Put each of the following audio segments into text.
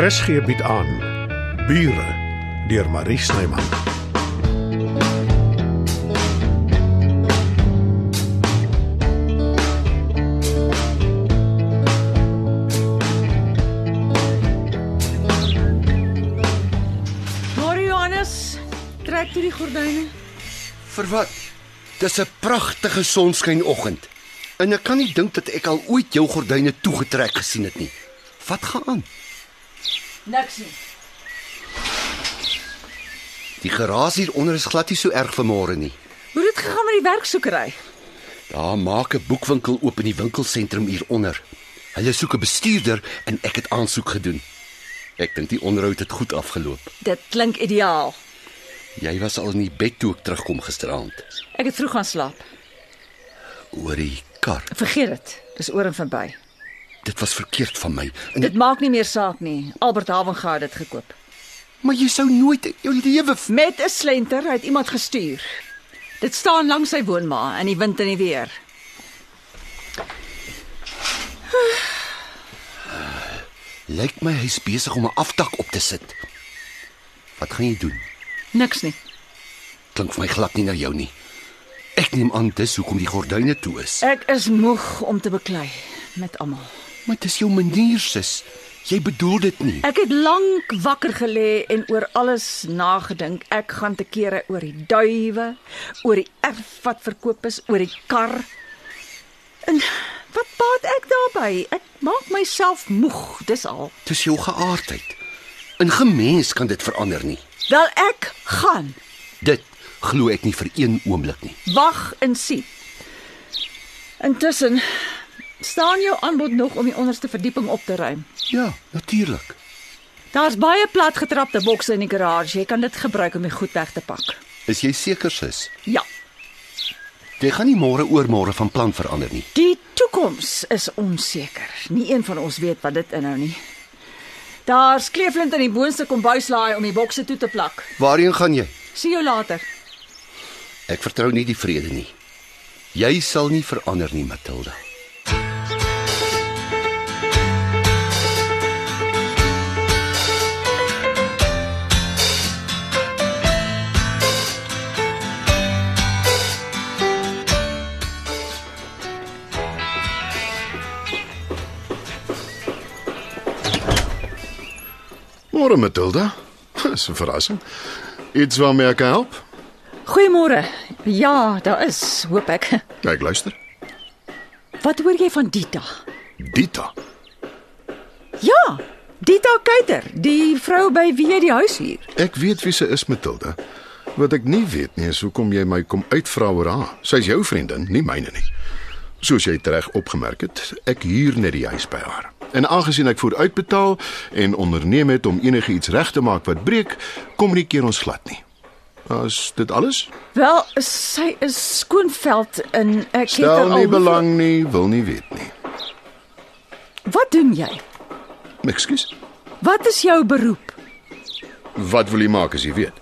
RSG bied aan Bure deur Marie Snyman. Môre Johannes, trek toe die gordyne. Vir wat? Dis 'n pragtige sonskynoggend. En ek kan nie dink dat ek al ooit jou gordyne toegetrek gesien het nie. Wat gaan aan? Niks nie. Die geraas hieronder is glad nie so erg vanmôre nie. Hoe het dit gegaan met die werksoekery? Daar maak 'n boekwinkel oop in die winkelsentrum hieronder. Hulle soek 'n bestuurder en ek het aansoek gedoen. Ek dink die onderhoud het goed afgeloop. Dit klink ideaal. Jy was al in die bed toe ek terugkom gisteraand Ek het vroeg gaan slaap. oor die kar. Vergeet dit. Dis oor en verby. Dit was verkeerd van my. En Dit maak nie meer saak nie. Albert Havenga het dit gekoop. maar jy sou nooit in jou lewe Met 'n slenter, hy het iemand gestuur. Dit staan langs sy woonma in die wind en die weer. Lyk my hy's besig om 'n aftak op te sit. Wat gaan jy doen? Niks nie. Klink vir my glad nie na jou nie. Ek neem aan dis hoekom die gordyne toe is. Ek is moeg om te beklei met almal. Maar dis jou manier, sis. Jy bedoel dit nie. Ek het lank wakker gelê en oor alles nagedink. Ek gaan te kere oor die duwe, oor die erf wat verkoop is, oor die kar. En wat baat ek daarbey? Ek maak myself moeg, dis al. Dis jou geaardheid. 'n Gemens kan dit verander nie. Wel ek gaan. Dit glo ek nie vir een oomblik nie. Wag en sien. Intussen staan jou aanbod nog om die onderste verdieping op te ruim. Ja, natuurlik. Daar's baie platgetrapte bokse in die garage. Jy kan dit gebruik om die goed weg te pak. Is jy seker, sis? Ja. Jy gaan nie môre oormôre van plan verander nie. Die toekoms is onseker. Nie een van ons weet wat dit inhou nie. Daar's kleeflint in die boonste kombuislaai om die bokse toe te plak. Waarheen gaan jy? Sien jou later. Ek vertrou nie die vrede nie. Jy sal nie verander nie, Matilda. Môre Matilda. Dis 'n verrassing. Iets waarmee ek kan help? Goeiemôre. Ja, daar is, hoop ek. Kyk, luister. Wat hoor jy van Dita? Dita. Ja, Dita Kuyter, die vrou by wie jy die huis huur. Ek weet wie sy is, Matilda. Wat ek nie weet nie is hoekom jy my kom uitvra oor haar. Sy's Ah, jou vriendin, nie myne nie. Soos jy reg opgemerk het, ek huur net die huis by haar. En aangesien ek vooruitbetaal en onderneem het om enigiets reg te maak wat breek, kommunikeer ons glad nie. As dit alles? Wel, sy is Skoonveld in ek het Stel haar nie al- belang nie, wil nie weet nie. Wat doen jy? Ekskuus. Wat is jou beroep? Wat wil jy maak as jy weet?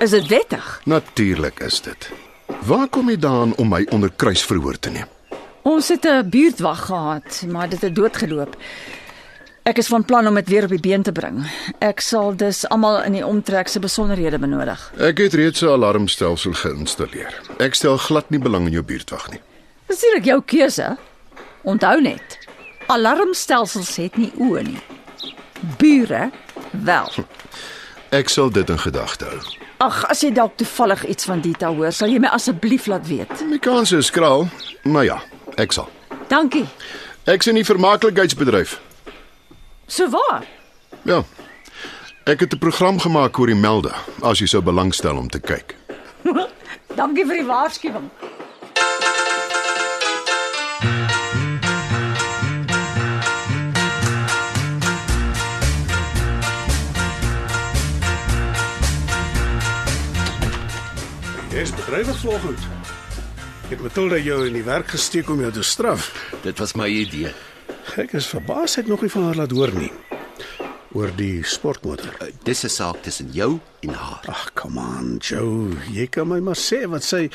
Is dit wettig? Natuurlik is dit. Waar kom jy daan om my onder kruisverhoor te neem? Ons het 'n buurtwag gehad, maar dit het doodgeloop. Ek is van plan om dit weer op die been te bring. Ek sal dus almal in die omtrek se besonderhede benodig. Ek het reeds 'n alarmstelsel geïnstalleer. Ek stel glad nie belang in jou buurtwag nie. Dis nie jou keuse. Onthou net, alarmstelsels het nie oë nie. Bure wel. Ek sal dit in gedagte hou. Ag, as jy dalk toevallig iets van Dita hoor, sal jy my asseblief laat weet. My kans is skraal, maar ja, ek sal. Dankie. Ek sien die vermaaklikheidsbedryf. So waar. Ja. Ek het 'n program gemaak oor die melde, as jy sou belangstel om te kyk. Dankie vir die waarskuwing. Jy's bedrywig vanoggend. Het Matilda jou in die werk gesteek om jou te straf. Dit was my idee. Ek is verbaas ek nog nie van haar laat hoor nie. Oor die sportmotor. Uh, Dis 'n saak tussen jou en haar. Ag, come on, Joe. Jy kan my maar sê wat sy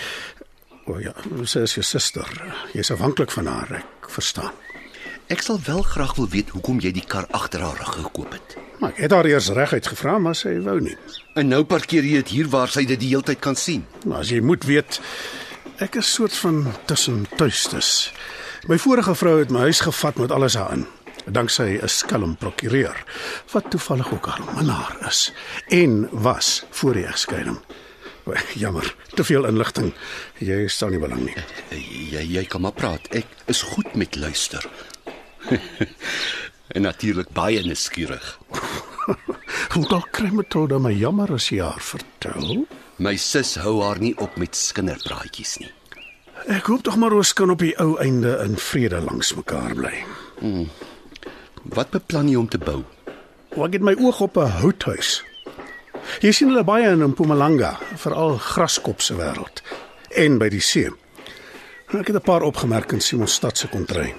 O oh ja, sy is jou suster. Jy's afhanklik van haar, ek verstaan. Ek sal wel graag wil weet hoekom jy die kar agter haar rug gekoop het. Maar ek het haar eers reguit gevra, maar sy wou nie. En nou parkeer jy dit hier waar sy dit die hele tyd kan sien. Maar Nou, as jy moet weet, ek is soort van tussen tuistes. My vorige vrou het my huis gevat met alles daarin. Danksy 'n skelm prokureur wat toevallig ook haar minnaar is en was voor die egskeiding. Jammer, te veel inligting. Jy stel nie belang nie. Eh, Jy jy kan maar praat. Ek is goed met luister. en natuurlik baie nuuskierig. Hoe dalk kry Matilda my jammer as jy haar vertel? My sus hou haar nie op met skinderpraatjies nie. Ek hoop tog maar ons kan op die ou einde in vrede langs mekaar bly. Wat beplan jy om te bou? Maar Ek het my oog op 'n houthuis. Jy sien hulle baie in Mpumalanga, veral graskop se wêreld en by die see. Ek het 'n paar opgemerk in Simon stad se kontrein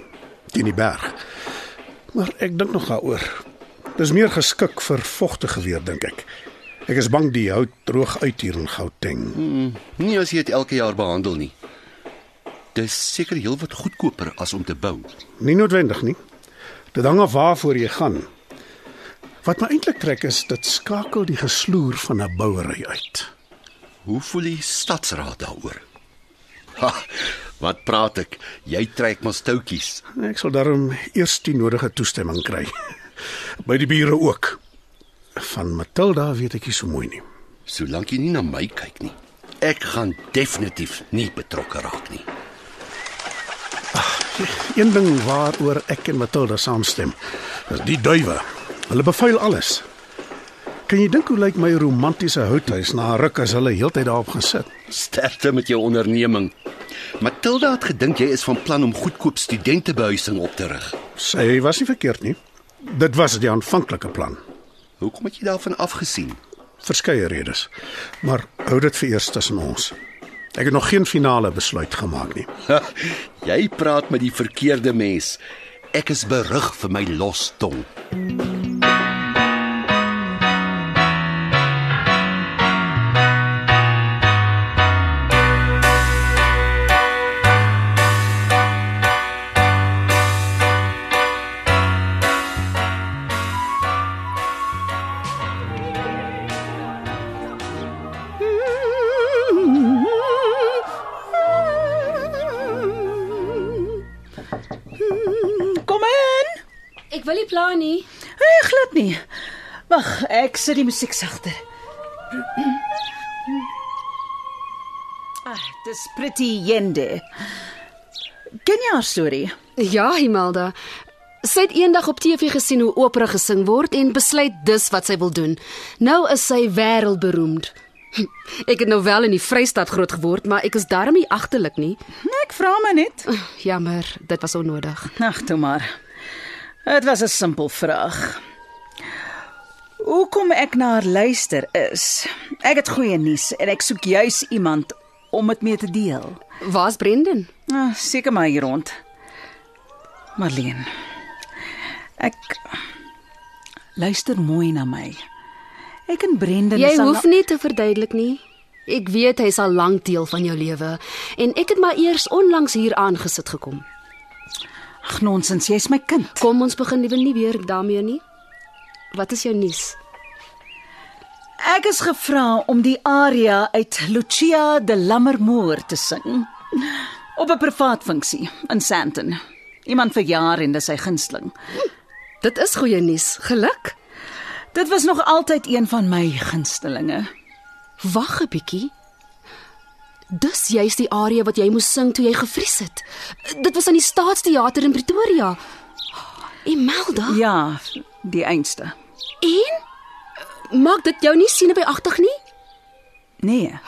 teen die berg. Maar ek dink nog daaroor. Dis meer geskik vir vogtige weer dink ek. Ek is bang die hout droog uit hier in Gauteng. Nie as jy dit elke jaar behandel nie. Dis seker heelwat goedkoper as om te bou. Nie noodwendig nie. Dit hang af waarvoor jy gaan. Wat my eintlik trek is dit skakel die gesloer van 'n bouery uit. Hoe voel die stadsraad daaroor? Ha, wat praat ek? Jy trek maar stoutjies. Nee, Ek sal daarom eers die nodige toestemming kry. By die bure ook. Van Matilda weet ek nie so mooi nie. Solank jy nie na my kyk nie. Ek gaan definitief nie betrokke raak nie. Een ding waaroor ek en Matilda saamstem, is die duwe. Hulle bevuil alles. Kan jy dink hoe lyk my romantiese houthuis na 'n ruk as hulle heeltyd daarop gesit? Sterkte met jou onderneming. Matilda het gedink jy is van plan om goedkoop studentebehuising op te rig. Sy was nie verkeerd nie. Dit was die aanvanklike plan. Hoekom het jy daarvan afgesien? Verskeie redes. Maar hou dit vir eers tussen ons. Ek het nog geen finale besluit gemaak nie. Ha, jy praat met die verkeerde mens. Ek is berug vir my los tong. Kom in. Ek wil nie pla nie. Nee, glad nie. Wag, ek sit die musiek sagter. Ah, dis Pretty Jende. Ken jy haar storie? Ja, Imelda. Sy het eendag op TV gesien hoe opera gesing word en besluit dis wat sy wil doen. Nou is sy wêreldberoemd. Ek het nou wel in die Vrystaat groot geword, maar ek is darm nie agterlik nie. Nee, Ek vra my net. Jammer, dit was onnodig. Ag, toe maar. Dit was 'n simpel vraag. Hoekom ek na haar luister is. Ek het goeie nuus en ek soek juis iemand om dit mee te deel. Waar's Brendan? Ah, seker maar hier rond. Marleen. Ek luister mooi na my. Ek en Brendan Jy is al hoef nie te verduidelik nie. Ek weet hy's al lank deel van jou lewe en ek het maar eers onlangs hier aangesit gekom. Ag, nonsens, jy's my kind. Kom ons begin liewe nie weer daarmee nie. Wat is jou nuus? Ek is gevra om die aria uit Lucia de Lammermoor te sing op 'n privaat funksie in Sandton. Iemand verjaar en dis sy gunsteling. Dit is goeie nuus. Geluk. Dit was nog altyd een van my gunstelinge. Wag 'n bietjie. Dis juist die aria wat jy moes sing toe jy gevries het. Dit was aan die Staatsteater in Pretoria. Imelda, Ja, die einste. en maak dit jou nie sienbyagtig nie? Nee.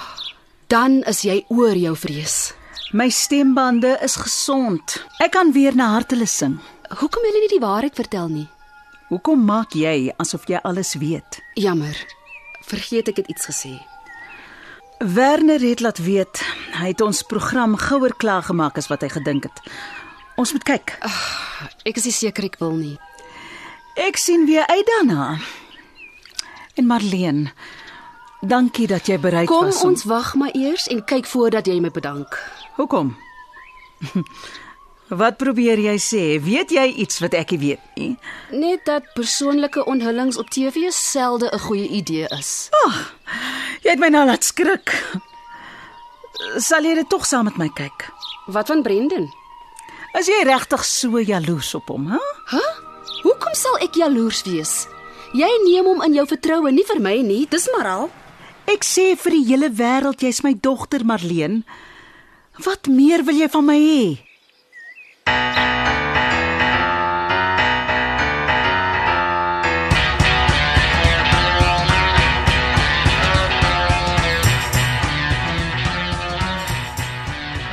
Dan is jy oor jou vrees. My stembande is gesond. Ek kan weer na hartele sing. Hoekom wil jy nie die waarheid vertel nie? Hoekom maak jy asof jy alles weet? Jammer. Vergeet ek het iets gesê. Werner het laat weet hy het ons program gouer klaar gemaak as wat hy gedink het. Ons moet kyk. Ek is nie seker ek wil nie. Ek sien weer uit daarna. En Marleen, dankie dat jy bereid Kom was. ons wag maar eers en kyk voordat jy my bedank. Hoekom? Wat probeer jy sê? Weet jy iets wat ek nie weet nie? Net dat persoonlike onthullings op TV selde 'n goeie idee is. Jy het my nou laat skrik. Sal jy dit tog saam met my kyk? Wat van Brendan? Is jy regtig so jaloers op hom, hè? Hoekom sal ek jaloers wees? Jy neem hom in jou vertroue, nie vir my nie, dis maar al. Ek sê vir die hele wêreld jy's my dogter Marleen. Wat meer wil jy van my hê?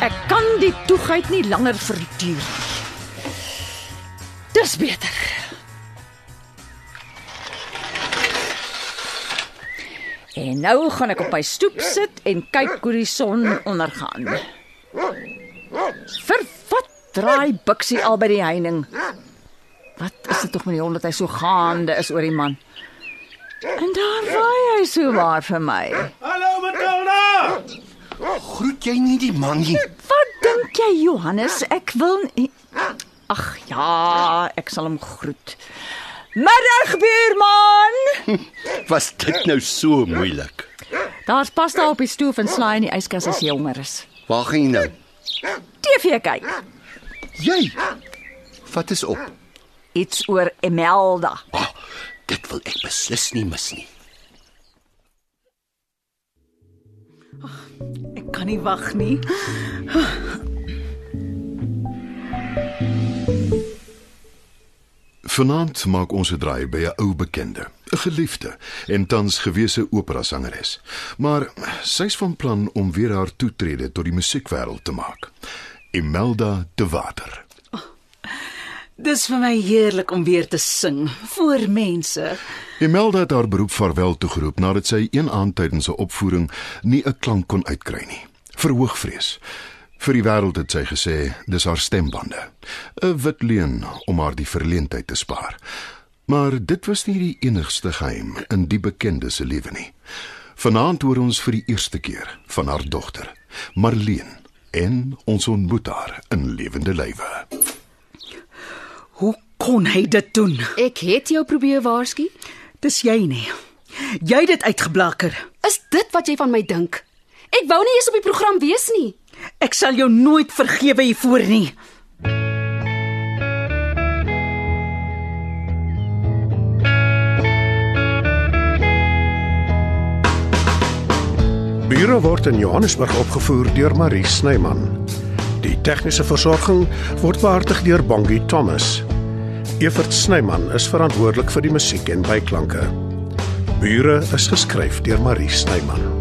Ek kan die toegheid nie langer verduur nie. Dis beter. En nou gaan ek op my stoep sit en kyk hoe die son ondergaan. Vir wat draai Bixie al by die heining? Wat is dit tog met die hond dat hy so gaande is oor die man? En daar waai hy so waar vir my. Hallo Matilda. Groet jy nie die man nie? Wat dink jy Johannes? Ek wil nie- Ag ja, ek sal hom groet. Middag buurman. Was dit nou so moeilik? Daar's pasta op die stoof en slaai in die yskas as jy honger is. Waar gaan jy nou? TV kyk. Jy. Vat is op. Iets oor Emelda. Ah, dit wil ek beslis nie mis nie. Ek kan nie wag nie. Vanaand maak ons 'n draai by 'n ou bekende, 'n geliefde en tans gewese operasangeres. Maar sy's van plan om weer haar toetrede tot die musiekwêreld te maak. Imelda de Water. Dis vir my heerlik om weer te sing voor mense. Imelda het haar beroep vaarwel toegeroep nadat sy een aand tydens 'n opvoering nie 'n klank kon uitkry nie. Verhoogvrees. Vir die wêreld het sy gesê dis haar stembande. 'n Wit leuen om haar die verleentheid te spaar. Maar dit was nie die enigste geheim in die bekende se lewe nie. Vanaand hoor ons vir die eerste keer van haar dogter, Marleen, en ons ontmoet haar in lewende lywe. Hoe kon hy dit doen? Ek het jou probeer waarsku. Dis jy nie. Jy het dit uitgeblakker. Is dit wat jy van my dink? Ek wou nie eens op die program wees nie. Ek sal jou nooit vergewe hiervoor nie. Bure word in Johannesburg opgevoer deur Marie Snyman. Die tegniese versorging word behartig deur Bongie Thomas. Evert Snyman is verantwoordelik vir die musiek en byklanke. Bure is geskryf deur Marie Snyman.